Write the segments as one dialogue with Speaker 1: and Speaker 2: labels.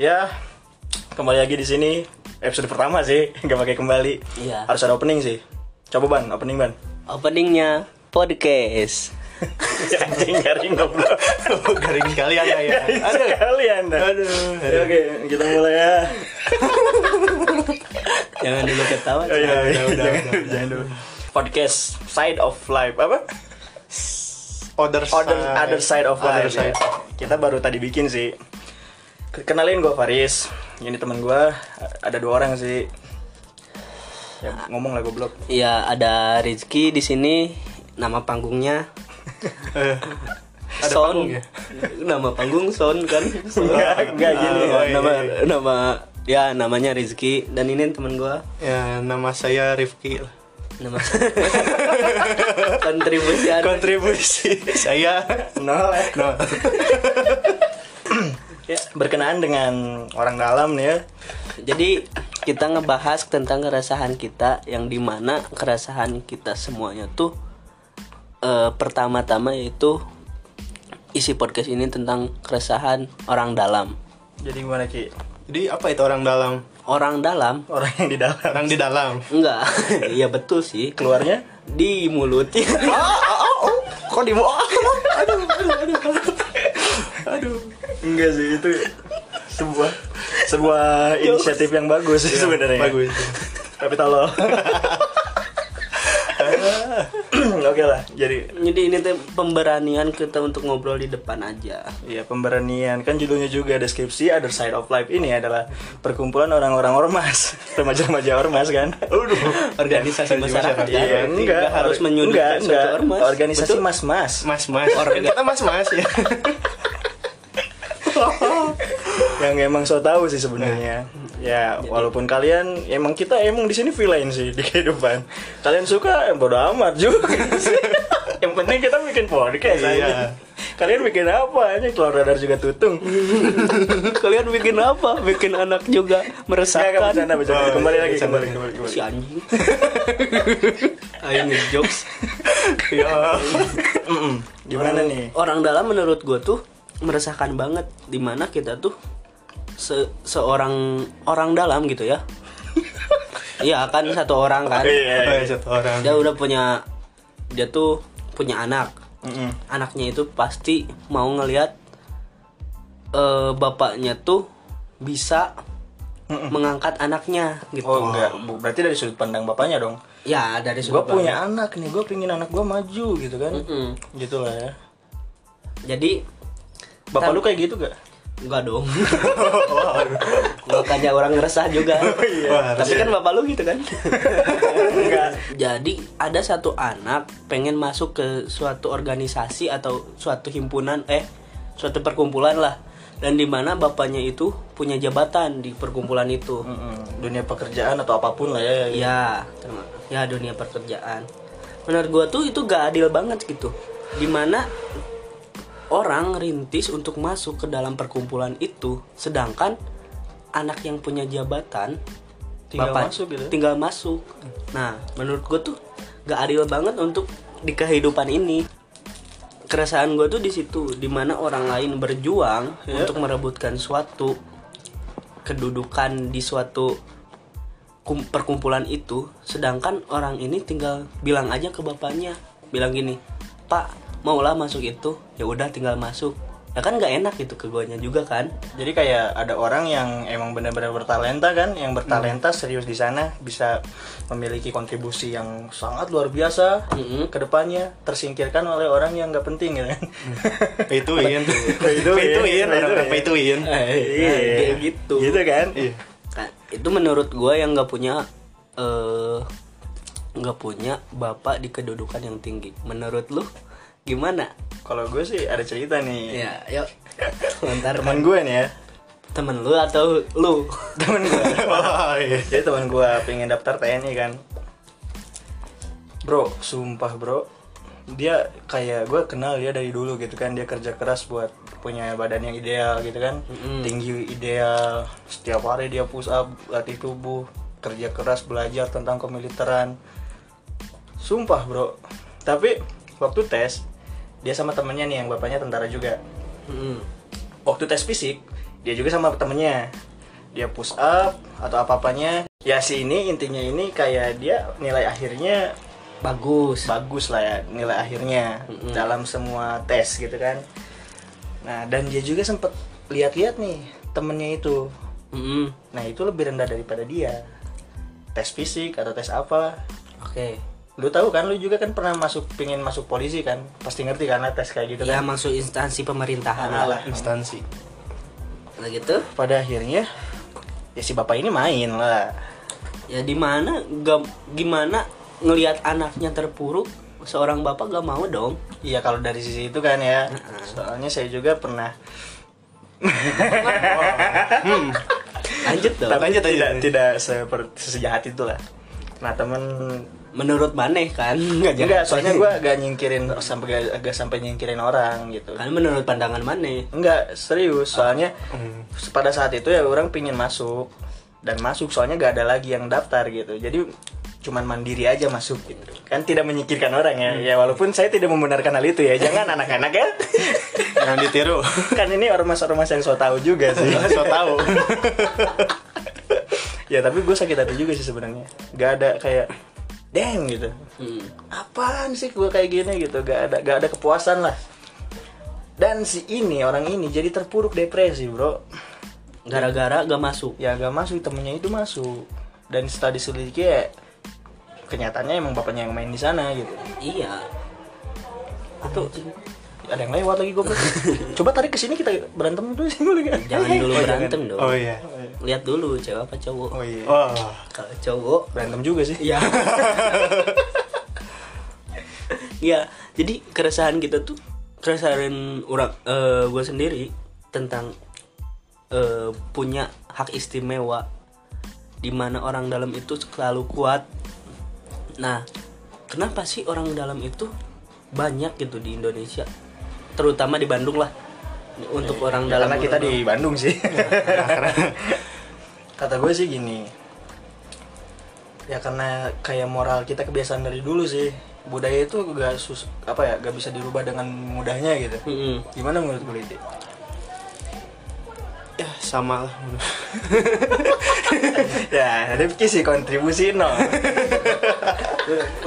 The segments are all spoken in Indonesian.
Speaker 1: ya kembali lagi di sini episode pertama sih nggak pakai kembali
Speaker 2: Iya.
Speaker 1: harus ada opening sih coba ban opening ban
Speaker 2: Openingnya podcast.
Speaker 1: Ya, anjing garing goblok
Speaker 2: Garing sekali anda ya.
Speaker 1: Aduh. sekali anda Ya, oke kita mulai ya
Speaker 2: Jangan dulu ketawa.
Speaker 1: Oh, iya, iya.
Speaker 2: Udah, udah,
Speaker 1: Jangan-
Speaker 2: udah.
Speaker 1: jangan dulu. podcast side of life apa
Speaker 3: Other
Speaker 1: other
Speaker 2: ah,
Speaker 1: other side of life
Speaker 3: Other
Speaker 2: iya,
Speaker 3: side.
Speaker 1: ya. kita baru tadi bikin sih K- kenalin gue Faris ini teman gue ada dua orang sih ya, ngomong lah goblok
Speaker 2: Iya, ada Rizky di sini. Nama panggungnya
Speaker 3: Eh, ada
Speaker 2: Son.
Speaker 3: panggung ya?
Speaker 2: Nama panggung Son kan. Son.
Speaker 1: Enggak, enggak, gini,
Speaker 2: Ah,
Speaker 3: oh, iya,
Speaker 2: Nama
Speaker 3: iya.
Speaker 2: nama ya namanya Rizky dan ini teman gua.
Speaker 3: Ya, nama saya Rifki.
Speaker 2: Nama kontribusi ada.
Speaker 3: Kontribusi saya
Speaker 1: nol ya
Speaker 3: no.
Speaker 1: Ya, berkenaan dengan orang dalam nih ya.
Speaker 2: Jadi kita ngebahas tentang keresahan kita yang dimana keresahan kita semuanya tuh eh, pertama-tama yaitu isi podcast ini tentang keresahan orang dalam.
Speaker 1: Jadi gimana Ki?
Speaker 3: Jadi apa itu orang dalam?
Speaker 2: Orang dalam
Speaker 1: Orang yang di dalam
Speaker 3: Orang di dalam.
Speaker 2: enggak, iya betul sih
Speaker 1: keluarnya
Speaker 2: di mulut.
Speaker 1: kok di aduh, aduh, aduh. Enggak sih itu sebuah sebuah inisiatif yang Iya, bagus sih sebenarnya.
Speaker 3: Bagus.
Speaker 1: Tapi tolong. Oke lah, jadi
Speaker 2: Jadi ini tuh pemberanian kita untuk ngobrol di depan aja.
Speaker 1: ya pemberanian kan judulnya juga deskripsi other side of life ini adalah perkumpulan orang-orang ormas remaja-remaja ormas kan
Speaker 2: Organisasi masyarakat.
Speaker 3: masyarakat.
Speaker 1: Iya,
Speaker 2: Berarti
Speaker 1: enggak
Speaker 2: nggak harus
Speaker 1: Or-
Speaker 2: menyudutkan
Speaker 1: enggak, enggak.
Speaker 2: suatu ormas.
Speaker 1: Organisasi
Speaker 2: Betul?
Speaker 1: mas-mas.
Speaker 3: Mas-mas. Orang kita mas-mas ya.
Speaker 1: yang emang so tahu sih sebenarnya. Ya, walaupun kalian emang kita emang di sini villain sih di kehidupan. Kalian suka ya bodo amat juga. sih. yang penting kita bikin podcast
Speaker 3: Iya.
Speaker 1: aja. Kalian bikin apa aja keluar radar juga tutung.
Speaker 2: Kalian bikin apa? Bikin anak juga
Speaker 1: Enggak enggak
Speaker 2: meresahkan.
Speaker 1: bercanda bercanda.
Speaker 3: Oh,
Speaker 1: Kembali lagi
Speaker 3: bercanda.
Speaker 1: kembali kembali. kembali.
Speaker 2: si anjing ayo ngejokes
Speaker 3: Ya.
Speaker 1: Mm-mm. Gimana nih?
Speaker 2: orang dalam menurut gue tuh meresahkan banget dimana kita tuh se- seorang orang dalam gitu ya iya kan satu orang kan
Speaker 3: Oh, ya, satu orang.
Speaker 2: dia udah punya dia tuh punya anak
Speaker 1: Mm-mm.
Speaker 2: anaknya itu pasti mau ngelihat eh, bapaknya tuh bisa mengangkat anaknya gitu
Speaker 1: Oh enggak, Bu- berarti dari sudut pandang bapaknya dong.
Speaker 2: ya dari
Speaker 1: Gue
Speaker 2: sudut pandang.
Speaker 1: punya anak nih, gue pingin anak gue maju gitu kan.
Speaker 2: Mm-mm.
Speaker 1: Gitu lah ya.
Speaker 2: Hmm, jadi
Speaker 1: Bapak
Speaker 2: Tam-
Speaker 1: lu kayak gitu gak?
Speaker 2: Enggak dong. Makanya orang ngeresah juga.
Speaker 3: Wah,
Speaker 2: Tapi kan bapak lu gitu kan.
Speaker 1: Enggak.
Speaker 2: Jadi ada satu anak pengen masuk ke suatu organisasi atau suatu himpunan eh suatu perkumpulan lah dan di mana bapaknya itu punya jabatan di perkumpulan itu.
Speaker 1: Mm-mm. dunia pekerjaan atau apapun lah ya. ya.
Speaker 2: Ya, terima- ya dunia pekerjaan. Menurut gua tuh itu gak adil banget gitu. Dimana orang rintis untuk masuk ke dalam perkumpulan itu, sedangkan anak yang punya jabatan
Speaker 1: Tinggal masuk gitu.
Speaker 2: Tinggal masuk. Nah, menurut gua tuh gak adil banget untuk di kehidupan ini. Keresahan gua tuh di situ, dimana orang lain berjuang
Speaker 1: Ya.
Speaker 2: untuk merebutkan suatu kedudukan di suatu kum- perkumpulan itu sedangkan orang ini tinggal bilang aja ke bapaknya bilang gini pak maulah masuk itu ya udah tinggal masuk ya kan nggak enak gitu ke guanya juga kan
Speaker 1: Jadi kayak ada orang yang emang benar-benar bertalenta kan, yang
Speaker 2: Mm.
Speaker 1: bertalenta serius di sana bisa memiliki kontribusi yang sangat luar biasa
Speaker 2: Mm-mm.
Speaker 1: ke depannya tersingkirkan oleh orang yang nggak penting gitu kan.
Speaker 3: Pay to win.
Speaker 1: Pay to win.
Speaker 3: Pay to win. Orang-orang pay to win.
Speaker 1: Iya,
Speaker 2: kayak gitu.
Speaker 1: Gitu kan?
Speaker 3: Iya.
Speaker 2: Kan, itu menurut gua yang nggak punya eh, nggak punya bapak di kedudukan yang tinggi menurut lu gimana
Speaker 1: Kalau gue sih ada cerita nih.
Speaker 2: ya yuk lantar
Speaker 1: Teman gue nih ya.
Speaker 2: temen lu atau lu
Speaker 1: Teman gue.
Speaker 3: Wah, iya.
Speaker 1: Oh Jadi teman gue pengen daftar TNI kan. Bro, sumpah bro. Dia kayak gue kenal dia dari dulu gitu kan. Dia kerja keras buat punya badan yang ideal gitu kan. Tinggi ideal. Setiap hari dia push up, latih tubuh, kerja keras belajar tentang kemiliteran. Sumpah bro. Tapi waktu tes dia sama temennya nih yang bapaknya tentara juga
Speaker 2: Mm.
Speaker 1: waktu tes fisik dia juga sama temennya dia push up atau apa apanya ya si ini intinya ini kayak dia nilai akhirnya
Speaker 2: bagus
Speaker 1: bagus lah ya nilai akhirnya dalam semua tes gitu kan nah dan dia juga sempet lihat-lihat nih temennya itu
Speaker 2: Mm-mm.
Speaker 1: nah itu lebih rendah daripada dia tes fisik atau tes apa
Speaker 2: oke
Speaker 1: lu tahu kan lu juga kan pernah masuk pingin masuk polisi kan pasti ngerti karena tes kayak gitu kan
Speaker 2: ya masuk instansi pemerintahan
Speaker 1: Nah,
Speaker 2: Ah,
Speaker 1: lah.
Speaker 2: lah
Speaker 3: instansi
Speaker 2: Nah, gitu
Speaker 1: pada akhirnya ya si bapak ini main lah
Speaker 2: ya di mana gam- gimana ngelihat anaknya terpuruk seorang bapak gak mau dong
Speaker 1: iya kalau dari sisi itu kan ya soalnya saya juga pernah
Speaker 2: lanjut dong
Speaker 1: tapi
Speaker 3: Lanjut aja.
Speaker 1: tidak tidak seperti sejahat itulah nah temen
Speaker 2: menurut maneh kan nggak jahat.
Speaker 1: enggak soalnya gue agak nyingkirin sampai agak, agak sampai nyingkirin orang gitu
Speaker 2: kan menurut pandangan maneh
Speaker 1: enggak serius soalnya pada saat itu ya orang pingin masuk dan masuk soalnya gak ada lagi yang daftar gitu jadi cuman mandiri aja masuk gitu kan tidak menyingkirkan orang ya ya walaupun saya tidak membenarkan hal itu ya jangan anak-anak ya
Speaker 3: jangan ditiru
Speaker 1: kan ini ormas-ormas yang so tahu juga sih
Speaker 3: so tahu
Speaker 1: ya tapi gue sakit hati juga sih sebenarnya gak ada kayak damn gitu
Speaker 2: Hmm.
Speaker 1: apaan sih gue kayak gini gitu gak ada gak ada kepuasan lah dan si ini orang ini jadi terpuruk depresi bro
Speaker 2: gara-gara gak masuk
Speaker 1: ya gak masuk temennya itu masuk dan setelah diselidiki ya kenyataannya emang bapaknya yang main di sana gitu
Speaker 2: iya
Speaker 1: itu ada yang lewat lagi gue coba tarik ke sini kita berantem dulu sih dulu kan
Speaker 2: jangan dulu berantem dong
Speaker 3: oh iya
Speaker 2: lihat dulu cewek apa cowok
Speaker 1: oh iya
Speaker 3: wah
Speaker 2: kalau cowok
Speaker 1: berantem juga sih
Speaker 2: ya ya jadi keresahan kita tuh keresahan orang gue sendiri tentang eh, punya hak istimewa di mana orang dalam itu selalu kuat nah kenapa sih orang dalam itu banyak gitu di Indonesia terutama di Bandung lah untuk orang dalam
Speaker 1: Iya, ya, karena kita
Speaker 2: orang-
Speaker 1: di Bandung sih Iya, kata gue sih gini ya karena kayak moral kita kebiasaan dari dulu sih budaya itu gak sus apa ya gak bisa dirubah dengan mudahnya gitu
Speaker 2: Mm-mm.
Speaker 1: gimana menurut gue itu
Speaker 3: ya sama lah
Speaker 1: ya Rifki sih kontribusi no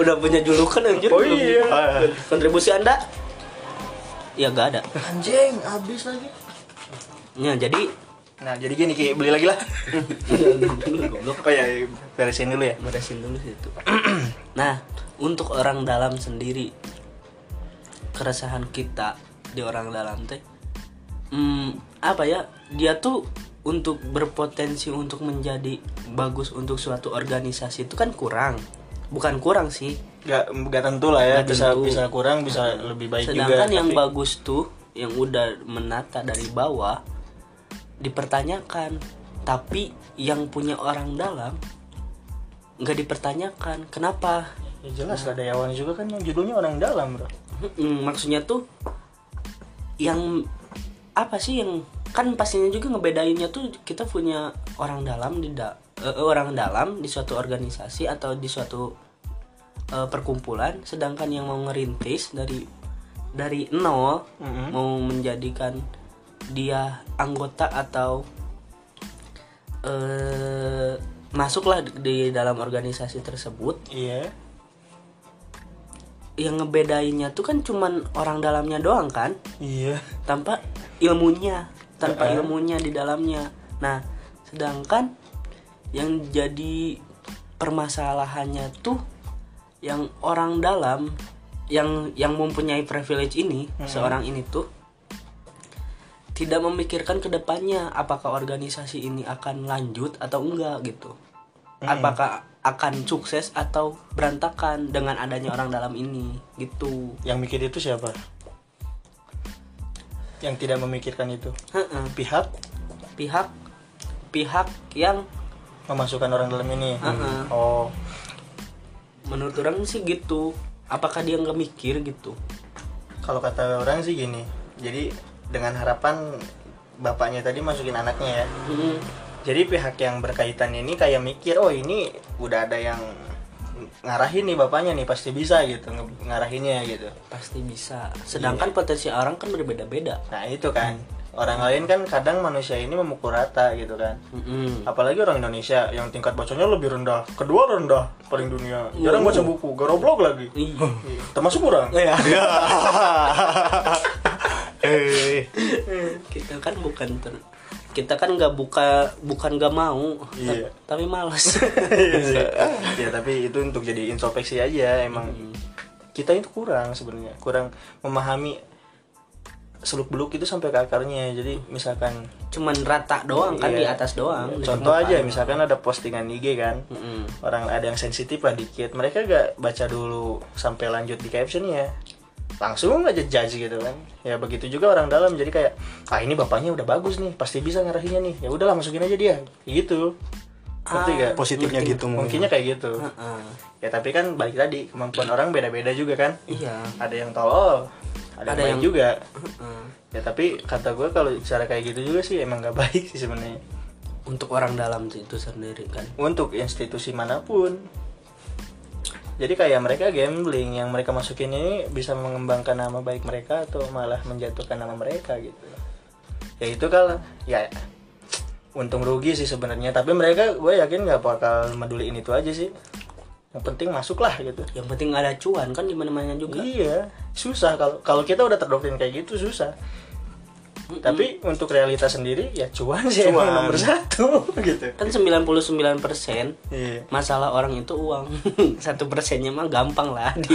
Speaker 2: udah punya julukan anjir
Speaker 1: Oh iya.
Speaker 2: kontribusi anda ya gak ada
Speaker 1: anjing habis lagi
Speaker 2: ya jadi
Speaker 1: nah jadi gini Ki, beli lagi lah
Speaker 2: goblok
Speaker 1: apa ya beresin dulu ya
Speaker 2: beresin dulu situ nah untuk orang dalam sendiri keresahan kita di orang dalam teh hmm, apa ya dia tuh untuk berpotensi untuk menjadi bagus untuk suatu organisasi itu kan kurang bukan kurang sih
Speaker 1: nggak nggak tentu lah ya
Speaker 2: Nggak
Speaker 1: bisa
Speaker 2: tentu.
Speaker 1: bisa kurang bisa lebih baik
Speaker 2: Sedangkan
Speaker 1: juga
Speaker 2: yang
Speaker 1: tapi-
Speaker 2: bagus tuh yang udah menata dari bawah dipertanyakan, tapi yang punya orang dalam nggak dipertanyakan. Kenapa?
Speaker 1: ya jelas Radayawan juga kan judulnya orang dalam bro
Speaker 2: Mm, maksudnya tuh yang apa sih yang kan pastinya juga ngebedainnya tuh kita punya orang dalam di da- eh, orang dalam di suatu organisasi atau di suatu eh, perkumpulan sedangkan yang mau ngerintis dari dari nol
Speaker 1: Mhm.
Speaker 2: mau menjadikan dia anggota atau eh masuklah di- di dalam organisasi tersebut
Speaker 1: iya
Speaker 2: yang ngebedainnya tuh kan cuman orang dalamnya doang kan
Speaker 1: iya
Speaker 2: tanpa ilmunya tanpa ilmunya di dalamnya nah sedangkan yang jadi permasalahannya tuh yang orang dalam yang yang mempunyai privilege ini seorang ini tuh tidak memikirkan kedepannya apakah organisasi ini akan lanjut atau enggak gitu apakah akan sukses atau berantakan dengan adanya orang dalam ini gitu
Speaker 1: yang mikir itu siapa yang tidak memikirkan itu
Speaker 2: Heeh.
Speaker 1: pihak
Speaker 2: pihak pihak yang
Speaker 1: memasukkan orang dalam ini
Speaker 2: Heeh.
Speaker 1: oh
Speaker 2: menurut orang sih gitu apakah dia nggak mikir gitu
Speaker 1: kalau kata orang sih gini jadi dengan harapan bapaknya tadi masukin anaknya ya
Speaker 2: Hmm,
Speaker 1: jadi pihak yang berkaitan ini kayak mikir oh ini udah ada yang ngarahin nih bapaknya nih pasti bisa gitu nge- ngarahinnya gitu
Speaker 2: pasti bisa sedangkan
Speaker 1: Iya.
Speaker 2: potensi orang kan berbeda-beda
Speaker 1: nah itu kan orang lain kan kadang manusia ini memukul rata gitu kan
Speaker 2: Mm-mm.
Speaker 1: apalagi orang Indonesia yang tingkat bacanya lebih rendah kedua rendah paling dunia jarang baca buku garoblok lagi
Speaker 2: Iya.
Speaker 1: termasuk kurang Iya.
Speaker 2: Ya,
Speaker 3: Eh,
Speaker 2: kita kan bukan ter- kita kan nggak buka bukan nggak mau
Speaker 1: Iya.
Speaker 2: ta- tapi malas
Speaker 1: ya tapi itu untuk jadi introspeksi aja emang kita itu kurang sebenarnya kurang memahami seluk beluk itu sampai ke akarnya jadi misalkan
Speaker 2: cuman rata doang kan
Speaker 1: Iya.
Speaker 2: di atas doang di
Speaker 1: contoh
Speaker 2: permukaan.
Speaker 1: aja misalkan ada postingan IG kan
Speaker 2: Mm-mm.
Speaker 1: orang ada yang sensitif lah dikit mereka gak baca dulu sampai lanjut di captionnya langsung aja judge gitu kan ya begitu juga orang dalam jadi kayak ah ini bapaknya udah bagus nih pasti bisa ngarahinnya nih ya udahlah masukin aja dia gitu ngerti gak
Speaker 3: positifnya gitu mungkin.
Speaker 1: mungkinnya kayak gitu
Speaker 2: Ah,
Speaker 1: ya tapi kan balik tadi kemampuan orang beda-beda juga kan
Speaker 2: iya
Speaker 1: ada yang tolol ada, yang
Speaker 2: Ada
Speaker 1: baik
Speaker 2: yang-
Speaker 1: juga
Speaker 2: Ah.
Speaker 1: ya tapi kata gue kalau cara kayak gitu juga sih emang gak baik sih sebenarnya
Speaker 2: untuk orang dalam itu sendiri kan
Speaker 1: untuk institusi manapun. Jadi kayak mereka gambling yang mereka masukin ini bisa mengembangkan nama baik mereka atau malah menjatuhkan nama mereka gitu. Ya itu kalau ya untung rugi sih sebenarnya tapi mereka gue yakin nggak bakal meduliin itu aja sih. Yang penting masuklah gitu.
Speaker 2: yang penting ada cuan kan di mana-mana juga
Speaker 1: Iya, susah kalau kalau kita udah terdoktrin kayak gitu susah. Tapi untuk realitas sendiri ya cuan sih emang
Speaker 3: Cuan.
Speaker 1: nomor satu gitu.
Speaker 2: kan 99%
Speaker 1: Iya.
Speaker 2: masalah orang itu uang satu persennya mah gampang lah di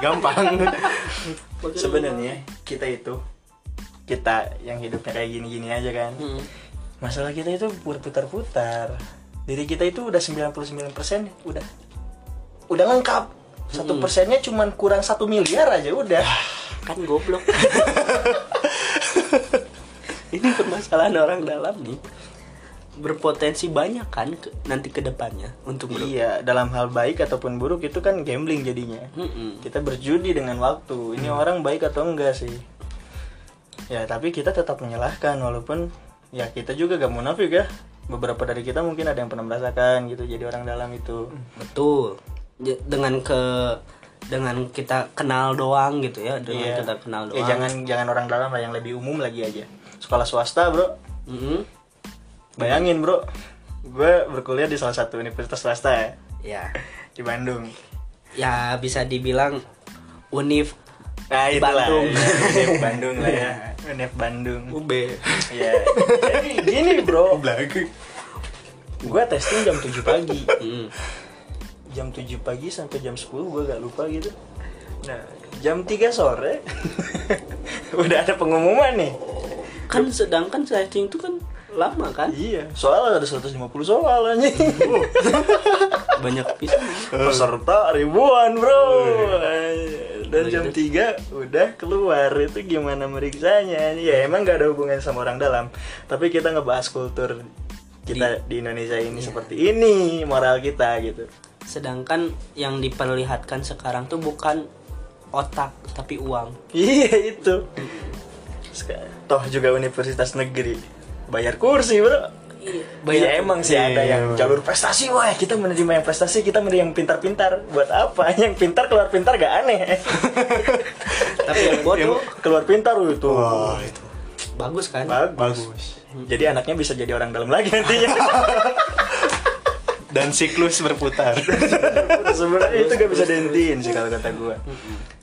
Speaker 3: Gampang.
Speaker 1: sebenarnya kita itu kita yang hidupnya kayak gini-gini aja kan
Speaker 2: Mm.
Speaker 1: masalah kita itu berputar-putar diri kita itu udah 99% udah udah lengkap satu persennya cuman kurang satu miliar aja udah
Speaker 2: kan goblok ini permasalahan orang dalam nih berpotensi banyak kan ke- nanti kedepannya untuk ber-
Speaker 1: iya dalam hal baik ataupun buruk itu kan gambling jadinya
Speaker 2: Mm-mm.
Speaker 1: kita berjudi dengan waktu
Speaker 2: Hmm.
Speaker 1: ini orang baik atau enggak sih ya tapi kita tetap menyalahkan walaupun ya kita juga gak munafik ya beberapa dari kita mungkin ada yang pernah merasakan gitu jadi orang dalam itu
Speaker 2: Hmm. betul J- dengan ke dengan kita kenal doang gitu ya dengan
Speaker 1: Iya.
Speaker 2: kita kenal doang
Speaker 1: ya jangan jangan orang dalam lah yang lebih umum lagi aja sekolah swasta bro
Speaker 2: Mm-mm.
Speaker 1: bayangin bro gue berkuliah di salah satu universitas swasta ya
Speaker 2: ya
Speaker 1: di Bandung
Speaker 2: ya bisa dibilang unif
Speaker 1: nah itulah
Speaker 2: Bandung.
Speaker 1: ya, UNEF Bandung lah ya UNEF Bandung
Speaker 2: UB
Speaker 1: ya jadi gini bro gue testing jam 7 pagi jam 7 pagi sampai jam 10 gue gak lupa gitu nah jam 3 sore udah ada pengumuman nih
Speaker 2: kan sedangkan searching itu kan lama kan
Speaker 1: iya soal ada 150 soal anjing Iya.
Speaker 2: banyak pisan
Speaker 1: peserta ribuan bro dan jam 3 udah keluar itu gimana meriksanya ya emang gak ada hubungannya sama orang dalam tapi kita ngebahas kultur kita di, Iya. Indonesia ini seperti ini moral kita gitu
Speaker 2: sedangkan yang diperlihatkan sekarang tuh bukan otak tapi uang
Speaker 1: iya itu Sek- toh juga universitas negeri bayar kursi bro Iya
Speaker 2: banyak
Speaker 1: emang sih ada
Speaker 3: Iya,
Speaker 1: yang jalur prestasi wah kita menerima yang prestasi kita menerima yang pintar-pintar buat apa yang pintar keluar pintar gak aneh
Speaker 2: tapi yang bodoh
Speaker 1: keluar pintar loh itu
Speaker 3: Wah, itu
Speaker 2: bagus kan
Speaker 1: bagus.
Speaker 3: bagus.
Speaker 1: jadi anaknya bisa jadi orang dalam lagi nantinya
Speaker 3: Dan siklus berputar.
Speaker 1: sebenarnya itu gak bisa dihentiin sih kalau kata gue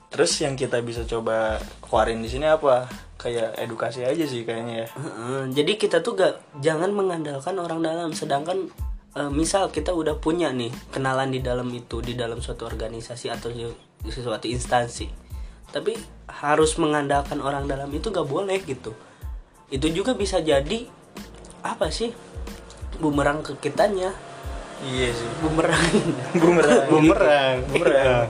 Speaker 1: terus yang kita bisa coba keluarin di sini apa kayak edukasi aja sih kayaknya ya
Speaker 2: Heeh, jadi kita tuh gak jangan mengandalkan orang dalam sedangkan eh, misal kita udah punya nih kenalan di dalam itu di dalam suatu organisasi atau di di suatu instansi tapi harus mengandalkan orang dalam itu gak boleh gitu itu juga bisa jadi apa sih bumerang ke kitanya
Speaker 1: iya sih
Speaker 2: bumerang
Speaker 1: bumerang Iya.
Speaker 3: Bumerang.
Speaker 1: bumerang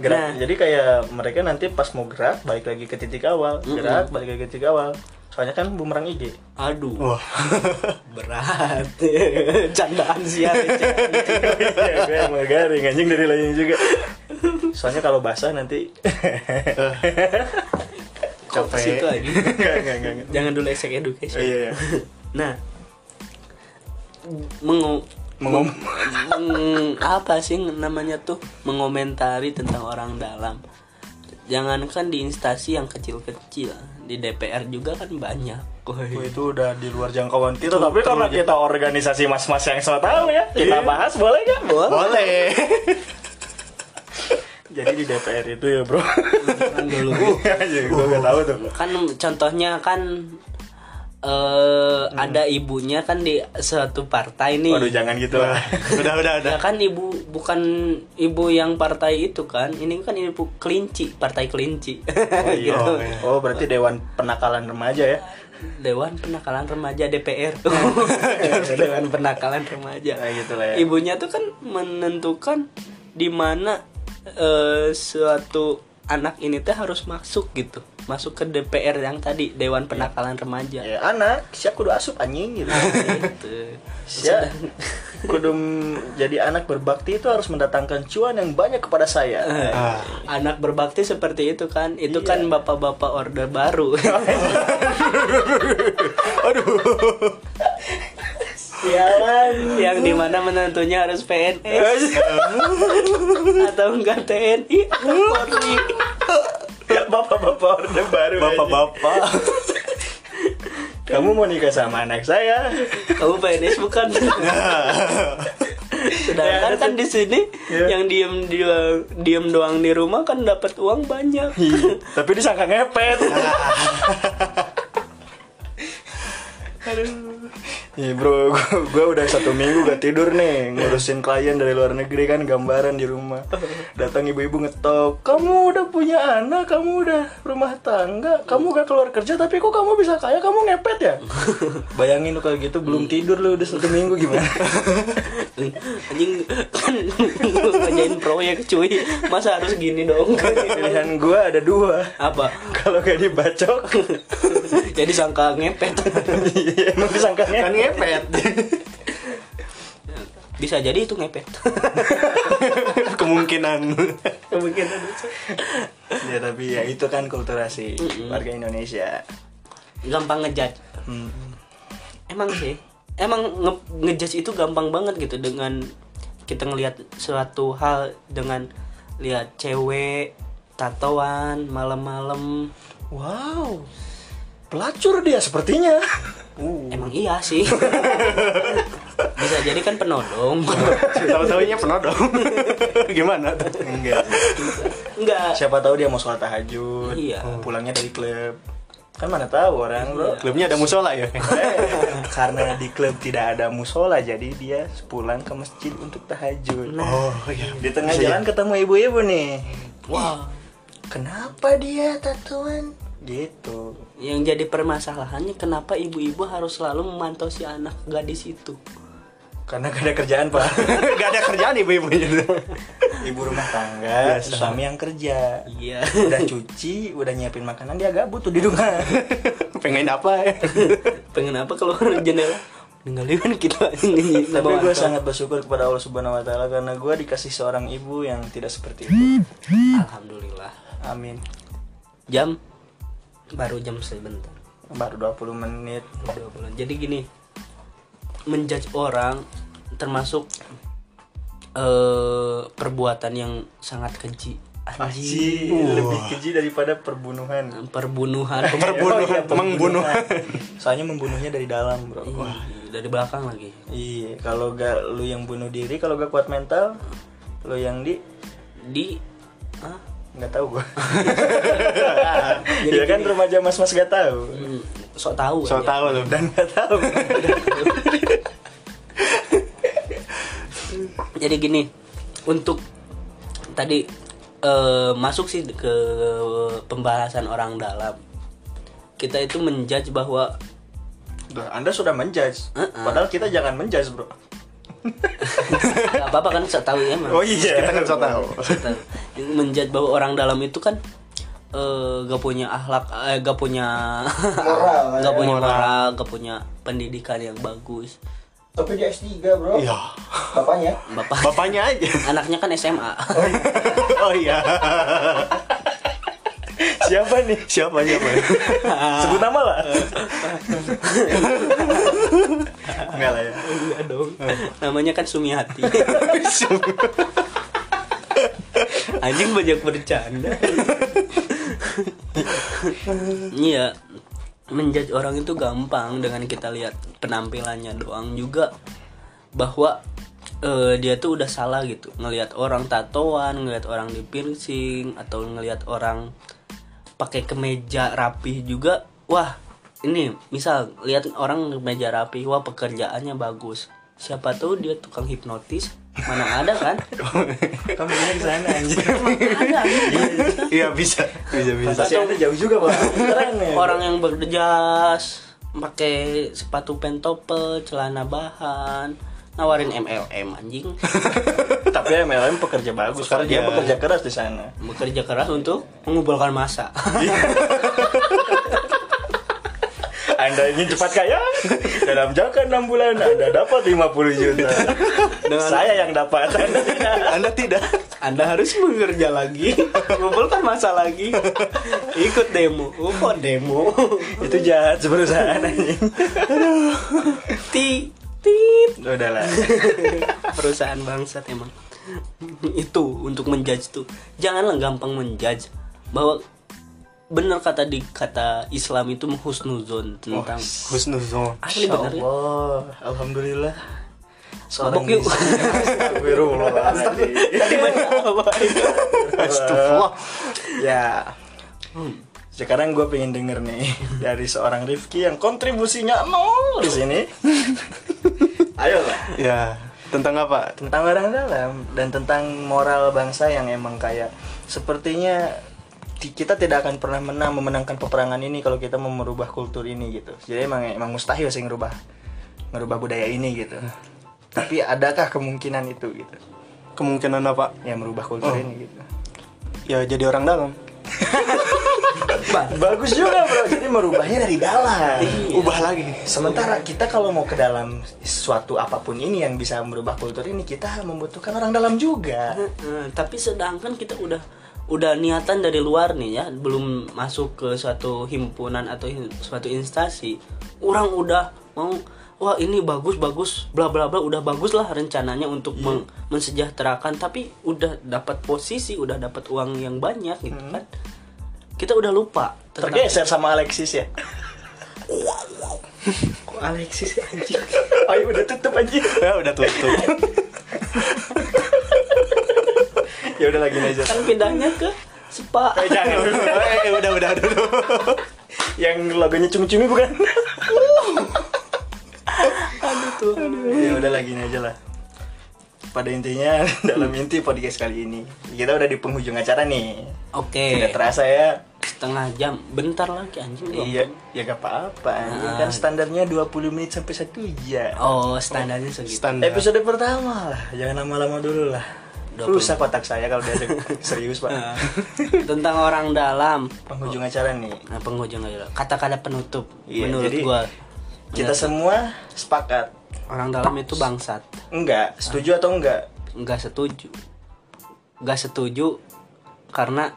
Speaker 1: gerak
Speaker 2: Nah.
Speaker 1: jadi kayak mereka nanti pas mau gerak balik lagi ke titik awal gerak balik lagi ke titik awal soalnya kan bumerang IG
Speaker 2: Aduh,
Speaker 3: Wah.
Speaker 2: berat. Candaan sia.
Speaker 1: Iya, gue emang garing anjing dari lainnya juga soalnya kalau basah nanti
Speaker 2: Kok
Speaker 3: Capek. Iya,
Speaker 2: situ lagi?
Speaker 1: Enggak, enggak, enggak, enggak.
Speaker 2: Nah, Jangan dulu exec education.
Speaker 1: iya iya
Speaker 2: Nah, mengu-
Speaker 3: mengom
Speaker 2: meng- apa sih namanya tuh mengomentari tentang orang dalam jangankan di instansi yang kecil-kecil di DPR juga kan banyak
Speaker 1: Wah,
Speaker 2: Woi.
Speaker 1: itu udah di luar jangkauan kita Iya. tapi karena kita organisasi mas-mas yang so tahu ya kita bahas boleh nggak
Speaker 3: boleh
Speaker 1: jadi di DPR itu ya bro Iya,
Speaker 2: Kan dulu.
Speaker 1: aja gue gak tahu tuh
Speaker 2: kan contohnya kan eh
Speaker 3: Hmm.
Speaker 2: ada ibunya kan di suatu partai nih
Speaker 1: waduh jangan gitu lah
Speaker 3: udah udah udah
Speaker 2: Ya kan ibu bukan ibu yang partai itu kan ini kan ibu kelinci partai kelinci
Speaker 1: iya.
Speaker 2: Gitu.
Speaker 1: oh berarti dewan penakalan remaja ya
Speaker 2: Dewan Penakalan Remaja DPR Dewan Penakalan Remaja
Speaker 1: Nah, gitu lah ya.
Speaker 2: ibunya tuh kan menentukan di mana eh, suatu anak ini teh harus masuk gitu masuk ke DPR yang tadi Dewan Penakalan Remaja
Speaker 1: ya anak siap kudu asup anjing gitu
Speaker 2: gitu
Speaker 1: siap kudu jadi anak berbakti itu harus mendatangkan cuan yang banyak kepada saya
Speaker 3: Ah,
Speaker 2: anak berbakti seperti itu kan itu
Speaker 1: Iya.
Speaker 2: kan bapak-bapak order baru
Speaker 1: sialan
Speaker 2: yang dimana menantunya harus PNS atau enggak TNI atau Polri
Speaker 1: bapak-bapak orde baru aja.
Speaker 3: bapak-bapak
Speaker 1: kamu mau nikah sama anak saya
Speaker 2: kamu PNS bukan sedangkan kan di sini yang diem doang diem doang di rumah kan dapat uang banyak
Speaker 1: tapi disangka ngepet Nih bro, gua, gua udah satu minggu gak tidur nih Ngurusin klien dari luar negeri kan gambaran di rumah Datang ibu-ibu ngetop Kamu udah punya anak, kamu udah rumah tangga Kamu gak keluar kerja tapi kok kamu bisa kaya, kamu ngepet ya? Bayangin lu kalau gitu belum tidur lu udah satu minggu gimana?
Speaker 2: anjing kan gua ngerjain proyek cuy masa harus gini dong
Speaker 1: Pilihan gua ada dua
Speaker 2: apa
Speaker 1: Kalau gak dibacok
Speaker 2: jadi sangka ngepet
Speaker 1: Emang disangkanya
Speaker 3: kan ngepet
Speaker 2: bisa jadi itu ngepet
Speaker 3: kemungkinan
Speaker 2: kemungkinan bisa
Speaker 1: ya tapi ya itu kan kulturasi warga Indonesia
Speaker 2: gampang ngejudge emang sih emang nge ngejudge itu gampang banget gitu dengan kita ngelihat suatu hal dengan lihat cewek tatoan malam-malam
Speaker 1: wow pelacur dia sepertinya
Speaker 3: Uh.
Speaker 2: emang iya sih bisa jadi kan penodong
Speaker 3: tahu-tahunya penodong gimana tuh
Speaker 1: enggak
Speaker 2: enggak
Speaker 1: siapa tahu dia mau sholat tahajud
Speaker 2: Iya.
Speaker 1: pulangnya dari klub kan mana tahu orang bro
Speaker 3: klubnya ada musola ya
Speaker 1: Eh, karena di klub tidak ada musola jadi dia pulang ke masjid untuk tahajud
Speaker 3: oh iya
Speaker 1: di tengah jalan ketemu ibu-ibu nih
Speaker 2: wah
Speaker 1: kenapa dia tatuan gitu
Speaker 2: yang jadi permasalahannya kenapa ibu-ibu harus selalu memantau si anak gadis itu
Speaker 1: karena gak ada kerjaan pak
Speaker 3: gak ada kerjaan ibu-ibu itu
Speaker 1: ibu rumah tangga suami yang kerja
Speaker 2: iya
Speaker 1: udah cuci udah nyiapin makanan dia gabut tuh di rumah
Speaker 3: pengen apa ya
Speaker 1: Iya,
Speaker 2: pengen apa keluar jendela ninggalin kita ini
Speaker 1: tapi gue sangat bersyukur kepada Allah Subhanahu Wa Taala karena gue dikasih seorang ibu yang tidak seperti itu
Speaker 2: alhamdulillah
Speaker 1: amin
Speaker 2: jam baru jam sebentar
Speaker 1: baru 20 menit
Speaker 2: dua bulan jadi gini menjudge orang termasuk eh perbuatan yang sangat keji
Speaker 1: Aji
Speaker 2: anjing
Speaker 1: lebih keji daripada perbunuhan
Speaker 2: perbunuhan
Speaker 3: perbunuhan membunuh
Speaker 1: soalnya membunuhnya dari dalam bro
Speaker 2: dari belakang lagi
Speaker 1: iya kalau gak lu yang bunuh diri kalau gak kuat mental lu yang di
Speaker 2: di ah, Hah?
Speaker 1: nggak tahu gue jadi kan remaja mas-mas gak tahu
Speaker 2: Hmm, sok tahu aja.
Speaker 3: so tahu tuh
Speaker 1: dan nggak tahu
Speaker 2: jadi gini untuk tadi eh, masuk sih ke pembahasan orang dalam kita itu menjudge bahwa
Speaker 1: Duh, Anda sudah menjudge. Padahal kita jangan menjudge, Bro.
Speaker 2: nggak apa-apa kan saya tahu ya Mas.
Speaker 1: iya,
Speaker 3: kita kan so tahu
Speaker 2: Saya tahu. Yang menjudge bahwa orang dalam itu kan eh, gak punya akhlak eh, gak punya
Speaker 1: Moral,
Speaker 2: gak punya moral gak punya pendidikan yang bagus
Speaker 1: Tapi dia S3, Bro.
Speaker 3: iya
Speaker 1: Bapaknya.
Speaker 2: bapak
Speaker 3: bapaknya aja
Speaker 2: anaknya kan SMA
Speaker 3: oh iya
Speaker 1: Siapa nih?
Speaker 3: siapa
Speaker 1: Nah.
Speaker 3: siapa
Speaker 1: Sebut nama lah. Enggak lah ya.
Speaker 2: Enggak dong. Namanya kan sumi hati. Anjing banyak bercanda. Iya. Menjudge orang itu gampang dengan kita lihat penampilannya doang juga bahwa eh, dia tuh udah salah gitu ngelihat orang tatoan, ngelihat orang di piercing atau ngelihat orang pakai kemeja rapih juga. Wah, ini misal lihat orang kemeja rapi, wah pekerjaannya bagus. Siapa tahu dia tukang hipnotis, mana ada kan?
Speaker 1: Kamu punya ke sana anjir.
Speaker 2: Ada.
Speaker 3: Iya bisa, bisa bisa.
Speaker 1: Fantasi Anda jauh juga, Pak. Keren ya.
Speaker 2: orang yang berjas pakai sepatu pentopel celana bahan nawarin MLM anjing
Speaker 1: Tapi MLM pekerja bagus Iya. karena dia
Speaker 3: Pekerja.
Speaker 1: bekerja keras di sana.
Speaker 2: bekerja keras untuk mengumpulkan masa
Speaker 1: Anda ingin cepat kaya? Dalam jangka 6 bulan Anda dapat 50 juta. Saya yang dapat. Anda tidak.
Speaker 3: Anda tidak.
Speaker 2: Anda harus bekerja lagi mengumpulkan masa lagi ikut demo kok demo
Speaker 1: Itu jahat perusahaan anjing.
Speaker 2: ti tit
Speaker 1: Udahlah.
Speaker 2: perusahaan bangsat emang itu untuk menjudge tuh janganlah gampang menjudge bahwa benar kata di kata Islam itu menghusnuzon tentang
Speaker 3: Oh, Husnuzon.
Speaker 2: asli bener ya?
Speaker 1: Allah, alhamdulillah. Seorang
Speaker 2: Mabok yuk.
Speaker 1: bisa. Astagfirullahaladzim.
Speaker 2: Tadi baca apa?
Speaker 3: Astagfirullah.
Speaker 1: Ya. Sekarang gue pengen denger nih dari seorang Rifki yang kontribusinya nol di sini. Ayo lah.
Speaker 3: Ya, tentang apa?
Speaker 1: tentang orang dalam dan tentang moral bangsa yang emang kayak sepertinya ti- kita tidak akan pernah menang memenangkan peperangan ini kalau kita mau merubah kultur ini gitu jadi emang emang mustahil sih ngerubah ngerubah budaya ini gitu tapi adakah kemungkinan itu gitu
Speaker 3: Kemungkinan apa?
Speaker 1: ya merubah
Speaker 3: Oh.
Speaker 1: kultur ini gitu
Speaker 3: Ya jadi orang dalam.
Speaker 1: bagus juga bro jadi merubahnya dari dalam
Speaker 3: Iya. Ubah lagi.
Speaker 1: sementara kita kalau mau ke dalam suatu apapun ini yang bisa merubah kultur ini kita membutuhkan orang dalam juga
Speaker 2: Eh, Tapi sedangkan kita udah udah niatan dari luar nih ya, belum masuk ke suatu himpunan atau hin- suatu instansi, orang udah mau wah ini bagus bagus bla bla bla udah bagus lah rencananya untuk meng- mensejahterakan tapi udah dapat posisi udah dapat uang yang banyak gitu kan kita udah lupa tentang-
Speaker 1: tergeser sama Alexis ya
Speaker 2: Kok Alexis anjing
Speaker 1: Ayo udah tutup anjing.
Speaker 3: Ya udah tutup.
Speaker 1: ya udah lagi aja.
Speaker 2: kan pindahnya ke spa
Speaker 1: Eh, jangan dulu.
Speaker 3: Eh, udah udah udah. udah.
Speaker 1: Yang logonya cung-cungi bukan?
Speaker 2: aduh tuh
Speaker 1: ya udah lagi aja lah. Pada intinya dalam inti podcast kali ini kita udah di penghujung acara nih.
Speaker 2: oke
Speaker 1: Tidak terasa ya.
Speaker 2: setengah jam bentar lagi anjing dong.
Speaker 1: Iya, ya gak apa-apa. anjing. Kan standarnya 20 menit sampai 1 jam.
Speaker 2: oh standarnya segitu
Speaker 3: Standar.
Speaker 1: Episode pertama lah, jangan lama-lama dulu lah.
Speaker 2: 20.
Speaker 1: Rusak kotak saya kalau dia serius pak.
Speaker 2: tentang orang dalam
Speaker 1: Penghujung acara nih.
Speaker 2: nah, penghujung aja lah. kata-kata penutup
Speaker 1: Iya,
Speaker 2: menurut
Speaker 1: jadi
Speaker 2: gua
Speaker 1: Kita
Speaker 2: Menurut-
Speaker 1: semua sepakat.
Speaker 2: orang dalam itu bangsat
Speaker 1: Enggak, setuju atau enggak?
Speaker 2: nggak setuju nggak setuju karena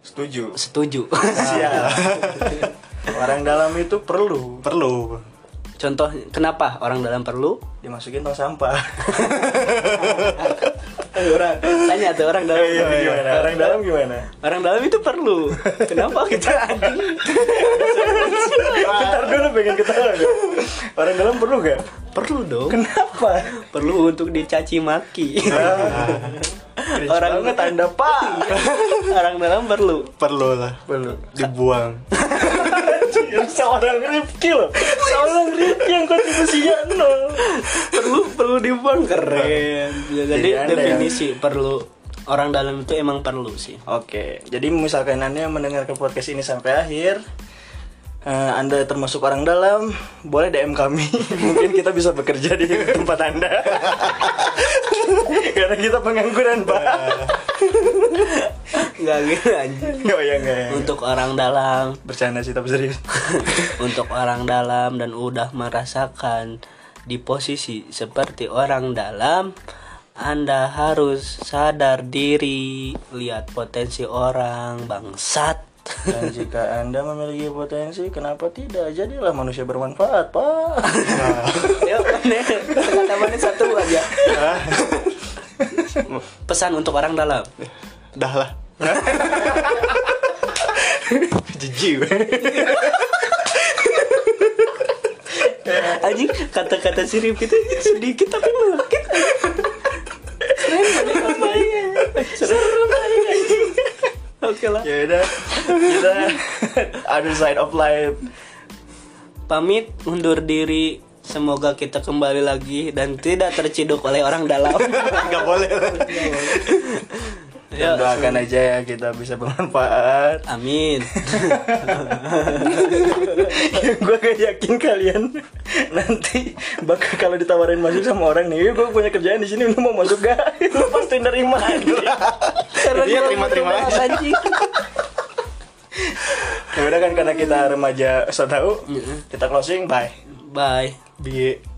Speaker 1: Setuju.
Speaker 2: setuju
Speaker 1: Siap. Ah. Orang dalam itu perlu
Speaker 3: Perlu.
Speaker 2: contoh kenapa orang dalam perlu
Speaker 1: dimasukin tong sampah. Eh, orang
Speaker 2: tanya tuh orang dalam
Speaker 1: Iya, gimana? Orang dalam gimana?
Speaker 2: orang dalam itu perlu kenapa kita anjing
Speaker 1: Bentar dulu pengen ketawa. gua. Orang dalam perlu gak?
Speaker 2: perlu dong
Speaker 1: Kenapa?
Speaker 2: perlu untuk dicaci maki
Speaker 1: Orang
Speaker 2: orang
Speaker 1: banget anda pak.
Speaker 2: orang dalam perlu
Speaker 3: Perlu lah.
Speaker 1: Perlu.
Speaker 3: Dibuang.
Speaker 1: Seorang Rifki loh. Seorang Rifki yang kontribusinya nol.
Speaker 2: perlu perlu dibuang keren jadi ya.
Speaker 1: Jadi Anda
Speaker 2: definisi perlu orang dalam itu emang perlu sih
Speaker 1: Oke, jadi misalkan Anda mendengarkan podcast ini sampai akhir, eh, Anda termasuk orang dalam, boleh DM kami. Mungkin kita bisa bekerja di tempat Anda. Karena kita pengangguran, Pak.
Speaker 2: nggak gitu anjing
Speaker 1: Oh ya enggak ya.
Speaker 2: untuk orang dalam
Speaker 1: Bercanda sih tapi serius.
Speaker 2: untuk orang dalam dan udah merasakan di posisi seperti orang dalam anda harus sadar diri lihat potensi orang bangsat
Speaker 1: Dan jika Anda memiliki potensi, kenapa tidak? Jadilah manusia bermanfaat, Pak.
Speaker 2: Ya, Nek. Kata-katanya satu aja. Pesan untuk orang dalam.
Speaker 3: Dah lah. Jijik. weh.
Speaker 2: Anjing, kata-kata sirip itu sedikit tapi melekit. Keren banget namanya. Seru banget. anjing. Oke lah.
Speaker 3: ya udah. Kita other side of life.
Speaker 2: Pamit undur diri. Semoga kita kembali lagi dan tidak terciduk oleh orang dalam.
Speaker 3: Gak boleh.
Speaker 1: Dan
Speaker 2: Ya,
Speaker 1: doakan aja ya kita bisa bermanfaat.
Speaker 2: Amin.
Speaker 1: gue gak yakin kalian nanti bakal kalau ditawarin masuk sama orang nih, gue punya kerjaan di sini lu mau masuk gak? lu pasti nerima.
Speaker 2: Karena
Speaker 3: Dia
Speaker 2: gua
Speaker 3: terima-terima
Speaker 2: bener-bener
Speaker 3: aja.
Speaker 2: anjing.
Speaker 1: ya udah kan karena kita remaja so tau, kita closing, bye.
Speaker 2: Bye.
Speaker 3: Bi.